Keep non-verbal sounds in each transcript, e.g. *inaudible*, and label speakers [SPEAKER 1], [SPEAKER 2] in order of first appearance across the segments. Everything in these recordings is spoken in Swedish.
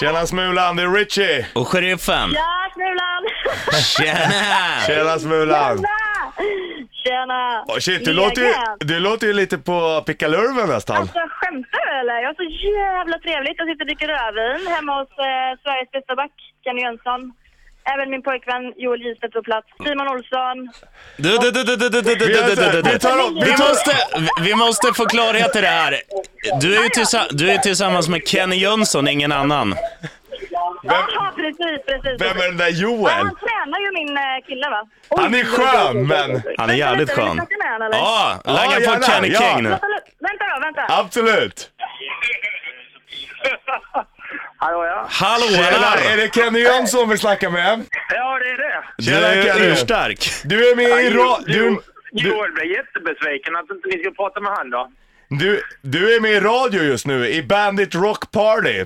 [SPEAKER 1] Tjena Smulan, det är Richie!
[SPEAKER 2] Och sheriffen.
[SPEAKER 3] Ja, Smulan!
[SPEAKER 2] Tjena!
[SPEAKER 1] Tjena Smulan!
[SPEAKER 3] Tjena! *laughs* Tjena!
[SPEAKER 1] Oh, shit, du låter, ju,
[SPEAKER 3] Jägaren.
[SPEAKER 1] du låter ju lite på pickalurven nästan.
[SPEAKER 3] Alltså skämtar du eller? Jag har så jävla trevligt. Jag sitter och dricker rödvin hemma hos eh, Sveriges bästa back, Kenny Jönsson. Även min pojkvän Joel Gistedt på plats. Simon Olsson.
[SPEAKER 2] Du, du, du, du, du, du, du, du,
[SPEAKER 1] Vi,
[SPEAKER 2] du,
[SPEAKER 1] gör så
[SPEAKER 2] du, du,
[SPEAKER 1] här, vi
[SPEAKER 2] du.
[SPEAKER 1] tar om, vi
[SPEAKER 2] Vi
[SPEAKER 1] tar,
[SPEAKER 2] måste, vi måste få klarhet i det här. Du är ju tillsa- du är tillsammans med Kenny Jönsson, ingen annan.
[SPEAKER 3] Jaha, precis, precis.
[SPEAKER 1] vem är den där
[SPEAKER 3] Ja,
[SPEAKER 1] Joel?
[SPEAKER 3] han tränar ju min eh, kille va?
[SPEAKER 1] Han är skön men...
[SPEAKER 2] Han är jävligt
[SPEAKER 3] Vänta,
[SPEAKER 2] skön.
[SPEAKER 3] Vill du snacka med honom eller?
[SPEAKER 2] Ja,
[SPEAKER 1] Ja,
[SPEAKER 2] lägga
[SPEAKER 1] gärna.
[SPEAKER 2] på Kenny
[SPEAKER 1] Ja.
[SPEAKER 2] King nu.
[SPEAKER 3] Vänta, nu- vänta då, vänta.
[SPEAKER 1] Absolut!
[SPEAKER 4] *laughs* Hallå ja.
[SPEAKER 2] Hallå,
[SPEAKER 1] Tjena, är
[SPEAKER 2] hallå!
[SPEAKER 1] det Kenny Jönsson vi snackar med?
[SPEAKER 4] Ja det är det.
[SPEAKER 2] Du är ju urstark.
[SPEAKER 1] Du är med i ra-
[SPEAKER 4] Joel-
[SPEAKER 1] du, du,
[SPEAKER 4] Joel blev jättebesviken att inte vi skulle prata med han då.
[SPEAKER 1] du, du är med i radio just nu, i Bandit Rock Party.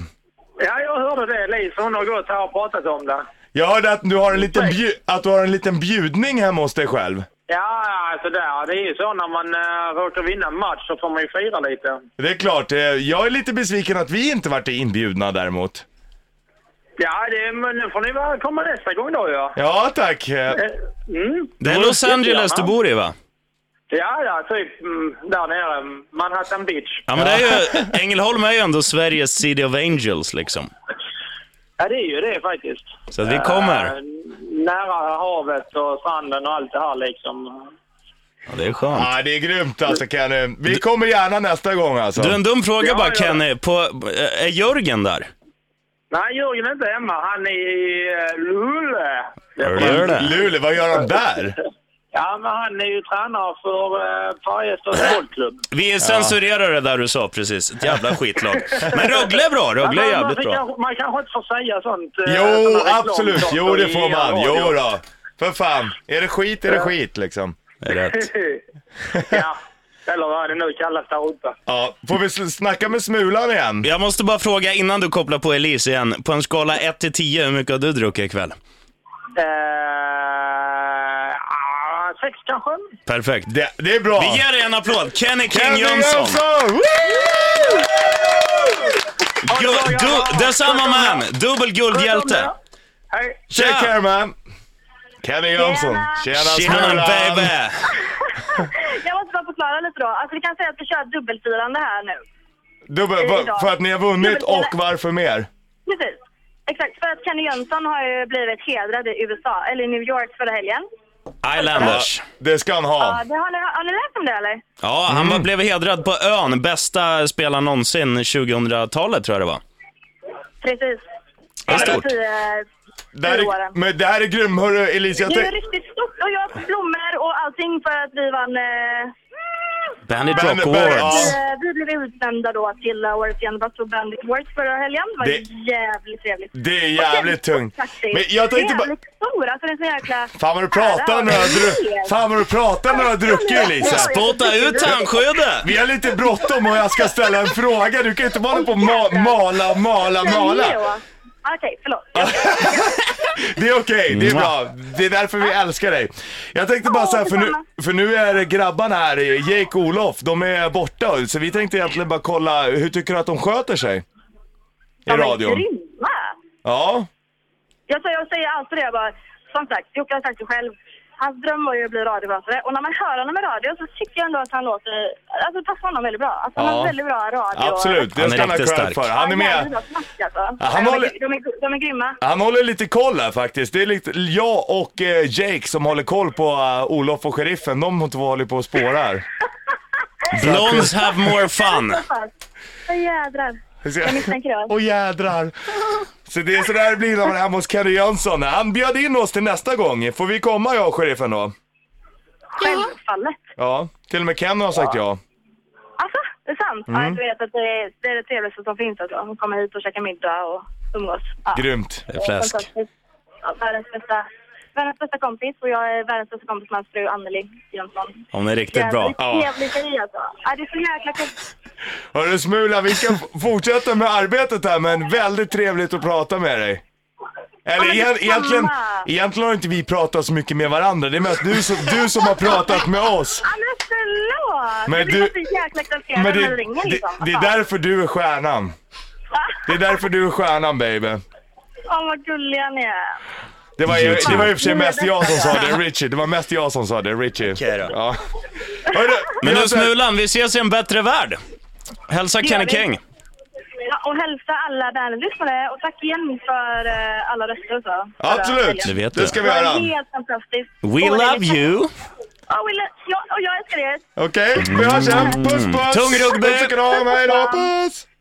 [SPEAKER 4] Ja jag hörde det Elise, hon har gått här och pratat om det.
[SPEAKER 1] Jag hörde att du har en liten, bju- att du har en liten bjudning hemma hos dig själv.
[SPEAKER 4] Ja alltså där, det är ju så när man uh, råkar vinna en match så får man ju fira lite.
[SPEAKER 1] Det är klart, eh, jag är lite besviken att vi inte varit inbjudna däremot.
[SPEAKER 4] Ja det, men nu får ni väl komma nästa gång då ja.
[SPEAKER 1] Ja tack. eh,
[SPEAKER 4] Eh, Mm.
[SPEAKER 2] Det är Los Angeles du bor i va?
[SPEAKER 4] Ja, ja, typ mm, där nere. Manhattan Beach.
[SPEAKER 2] Ja men det är ju,
[SPEAKER 1] *laughs*
[SPEAKER 2] Ängelholm är ju ändå Sveriges City of Angels liksom.
[SPEAKER 4] Ja, det är ju det faktiskt.
[SPEAKER 2] Så att vi kommer.
[SPEAKER 4] Eh, Nära havet och stranden och allt det här liksom.
[SPEAKER 2] Ja, det är skönt.
[SPEAKER 1] Ja, det är grymt alltså Kenny. Vi kommer gärna nästa gång alltså.
[SPEAKER 2] Du, en dum fråga
[SPEAKER 4] Ja,
[SPEAKER 2] bara
[SPEAKER 4] ja.
[SPEAKER 2] Kenny. På, eh, är Jörgen där?
[SPEAKER 4] Nej, Jörgen är inte hemma. Han är i eh, Luleå. Det är
[SPEAKER 2] Luleå.
[SPEAKER 4] bra.
[SPEAKER 2] det.
[SPEAKER 1] Luleå, vad gör han där?
[SPEAKER 4] Ja, men han är ju tränare för eh, Färjestads bollklubb.
[SPEAKER 2] Vi censurerar det där du sa precis. Ett jävla skitlag. Men Rögle är bra.
[SPEAKER 4] Men
[SPEAKER 2] Rögle är
[SPEAKER 4] man- man,
[SPEAKER 2] jävligt
[SPEAKER 4] fick
[SPEAKER 2] bra.
[SPEAKER 4] kanske- man kanske inte får säga sånt. eh, såna
[SPEAKER 1] Jo,
[SPEAKER 4] reklam-
[SPEAKER 1] absolut.
[SPEAKER 4] saker
[SPEAKER 1] Jo, det
[SPEAKER 4] i
[SPEAKER 1] får man.
[SPEAKER 4] radio.
[SPEAKER 1] Jo då. För fan. Är det skit, är det skit liksom.
[SPEAKER 2] Det är rätt.
[SPEAKER 4] *laughs* ja, eller vad det nu kallas där uppe.
[SPEAKER 1] Ja, får vi sl- snacka med Smulan igen?
[SPEAKER 2] Jag måste bara fråga innan du kopplar på Elise igen. På en skala 1 till 10, hur mycket har du druckit ikväll?
[SPEAKER 4] Eh, ah, sex kanske?
[SPEAKER 2] Perfekt.
[SPEAKER 1] Det, det är bra.
[SPEAKER 2] Vi ger dig en applåd. Kenny King
[SPEAKER 1] Kenny
[SPEAKER 2] Jönsson.
[SPEAKER 1] Jönsson! Woo!
[SPEAKER 2] Gu- du, detsamma man. Dubbel guldhjälte.
[SPEAKER 4] Hej.
[SPEAKER 1] Check
[SPEAKER 2] Tja.
[SPEAKER 1] here man. Alltså, Kenny Jönsson. Tjena,
[SPEAKER 2] Tjena
[SPEAKER 1] Smulan.
[SPEAKER 2] baby.
[SPEAKER 3] Jag måste bara förklara lite då. Alltså vi kan säga att vi kör dubbelfirande här nu.
[SPEAKER 1] Dubbel, va- för att ni har vunnit och varför mer?
[SPEAKER 3] Precis. Exakt, för att Kenny Jönsson har ju blivit hedrad i USA, eller i New York förra helgen.
[SPEAKER 2] Islanders.
[SPEAKER 1] Det ska han
[SPEAKER 3] Ja,
[SPEAKER 1] ha.
[SPEAKER 3] det har, ni, har ni läst om det eller?
[SPEAKER 2] Ja, han var, blev hedrad på ön. Bästa spelaren någonsin 2000-talet tror jag det var.
[SPEAKER 3] Precis. Eh,
[SPEAKER 2] Vad stort.
[SPEAKER 3] Tio,
[SPEAKER 1] Det här är, men det här är grym. Hörru Elise, jag
[SPEAKER 3] Det är
[SPEAKER 1] tänk-
[SPEAKER 3] ju riktigt stort och jag har fått blommor och allting för att vi vann... Eh,
[SPEAKER 2] Bandit
[SPEAKER 1] Bandit-
[SPEAKER 2] Rock
[SPEAKER 1] Bandit-
[SPEAKER 2] Awards.
[SPEAKER 1] Ja.
[SPEAKER 3] eh, vi blev utnämnda då till eh, Årets Genombrott på Bandit Awards förra helgen. Det var
[SPEAKER 1] Det-
[SPEAKER 3] jävligt trevligt.
[SPEAKER 1] det är jävligt tungt.
[SPEAKER 3] Faktiskt.
[SPEAKER 1] Men jag tänkte bara...
[SPEAKER 3] Jävligt stor, alltså det är så jäkla...
[SPEAKER 1] Fan vad du pratar när du har dru- Fan vad du pratar när du har druckit Elisa.
[SPEAKER 2] Spotta ut tandskyddet!
[SPEAKER 1] Vi har lite bråttom och jag ska ställa en fråga. Du kan inte bara hålla på och ma- mala, mala, mala.
[SPEAKER 3] Okej, förlåt.
[SPEAKER 1] Det är okej, det är bra. Det är därför vi älskar dig. Jag tänkte bara så här, för nu, för nu är det grabbarna här, Jake och Olof, de är borta. Så vi tänkte egentligen bara kolla, hur tycker du att de sköter sig? I
[SPEAKER 3] De är
[SPEAKER 1] radion?
[SPEAKER 3] grymma.
[SPEAKER 1] Ja.
[SPEAKER 3] Jag säger, jag säger alltid det, jag bara, som sagt, Jocke har sagt det själv. Hans dröm var ju att bli radiopratare och när man hör honom i radio så tycker jag ändå att han låter, alltså det passar honom väldigt bra. Alltså han
[SPEAKER 1] Ja.
[SPEAKER 3] har väldigt bra radio.
[SPEAKER 1] Absolut, det
[SPEAKER 2] Han är
[SPEAKER 1] ska han ha
[SPEAKER 2] riktigt
[SPEAKER 1] cred
[SPEAKER 2] stark.
[SPEAKER 1] för. Han är
[SPEAKER 3] jävligt
[SPEAKER 1] med.
[SPEAKER 3] bra snack, Alltså.
[SPEAKER 1] Ja, han
[SPEAKER 3] de,
[SPEAKER 1] håller-
[SPEAKER 3] är, de, är, de är grymma.
[SPEAKER 1] Han håller lite koll här faktiskt. Det är lite jag och eh, Jake som håller koll på eh, Olof och sheriffen. De två håller på att spåra här.
[SPEAKER 2] Blondes have
[SPEAKER 3] *laughs*
[SPEAKER 2] more fun.
[SPEAKER 3] Åh jädrar. Jag misstänker det.
[SPEAKER 1] Åh jädrar. Så det är sådär det blir när man är hemma hos Kenny Jönsson. Han bjöd in oss till nästa gång. Får vi komma jag och sheriffen då?
[SPEAKER 3] Självfallet.
[SPEAKER 1] Ja, till och med Kenny har sagt ja.
[SPEAKER 3] Alltså, det är sant. Ja,
[SPEAKER 1] Mm.
[SPEAKER 3] jag vet att det är det, är det trevligaste som finns alltså. Att komma hit och käka middag och umgås. Ja.
[SPEAKER 1] Grymt.
[SPEAKER 2] Det är fläsk.
[SPEAKER 3] Fantastiskt. Ja, världens bästa. Världens bästa kompis och jag är världens bästa kompis med hans fru Anneli Jönsson.
[SPEAKER 2] Hon är riktigt bra.
[SPEAKER 1] Ja.
[SPEAKER 3] Trevlig tjej alltså. Ja, det är så jäkla coolt.
[SPEAKER 1] Hörru Smula, vi ska f- fortsätta med arbetet här men väldigt trevligt att prata med dig. Eller
[SPEAKER 3] men
[SPEAKER 1] egen-
[SPEAKER 3] detsamma.
[SPEAKER 1] egentligen, egentligen har inte vi pratat så mycket med varandra. Det är mest du som, du som har pratat med oss.
[SPEAKER 3] Ja, men förlåt!
[SPEAKER 1] Men
[SPEAKER 3] jag blir
[SPEAKER 1] du-
[SPEAKER 3] bara så jäkla exalterad
[SPEAKER 1] Men
[SPEAKER 3] när
[SPEAKER 1] det,
[SPEAKER 3] du ringer
[SPEAKER 1] det,
[SPEAKER 3] liksom.
[SPEAKER 1] det är därför du är stjärnan.
[SPEAKER 3] Ja.
[SPEAKER 1] Det är därför du är stjärnan baby.
[SPEAKER 3] Åh, vad gulliga ni är.
[SPEAKER 1] Det var, ju- det var i och för sig mest jag som sa det, Richie. Det var mest jag som sa det, Richie.
[SPEAKER 2] Okej då.
[SPEAKER 1] Ja. Hörru,
[SPEAKER 2] Men du
[SPEAKER 1] jag säger-
[SPEAKER 2] Smulan, vi ses i en bättre värld. Hälsa Kenny
[SPEAKER 3] vi.
[SPEAKER 2] King.
[SPEAKER 3] Ja, och hälsa alla världens lyssnare och tack igen för eh, alla röster och så.
[SPEAKER 1] Absolut,
[SPEAKER 2] Det vet
[SPEAKER 1] det
[SPEAKER 2] du.
[SPEAKER 1] ska vi
[SPEAKER 3] Det var
[SPEAKER 1] göra.
[SPEAKER 3] helt fantastiskt.
[SPEAKER 2] We
[SPEAKER 3] Och det är
[SPEAKER 2] love you.
[SPEAKER 3] Ja, we lo- ja, och jag älskar er.
[SPEAKER 1] Okej, vi hörs sen. Puss puss!
[SPEAKER 2] Mm. Tung rugby.
[SPEAKER 1] Puss och kram, hej då, puss!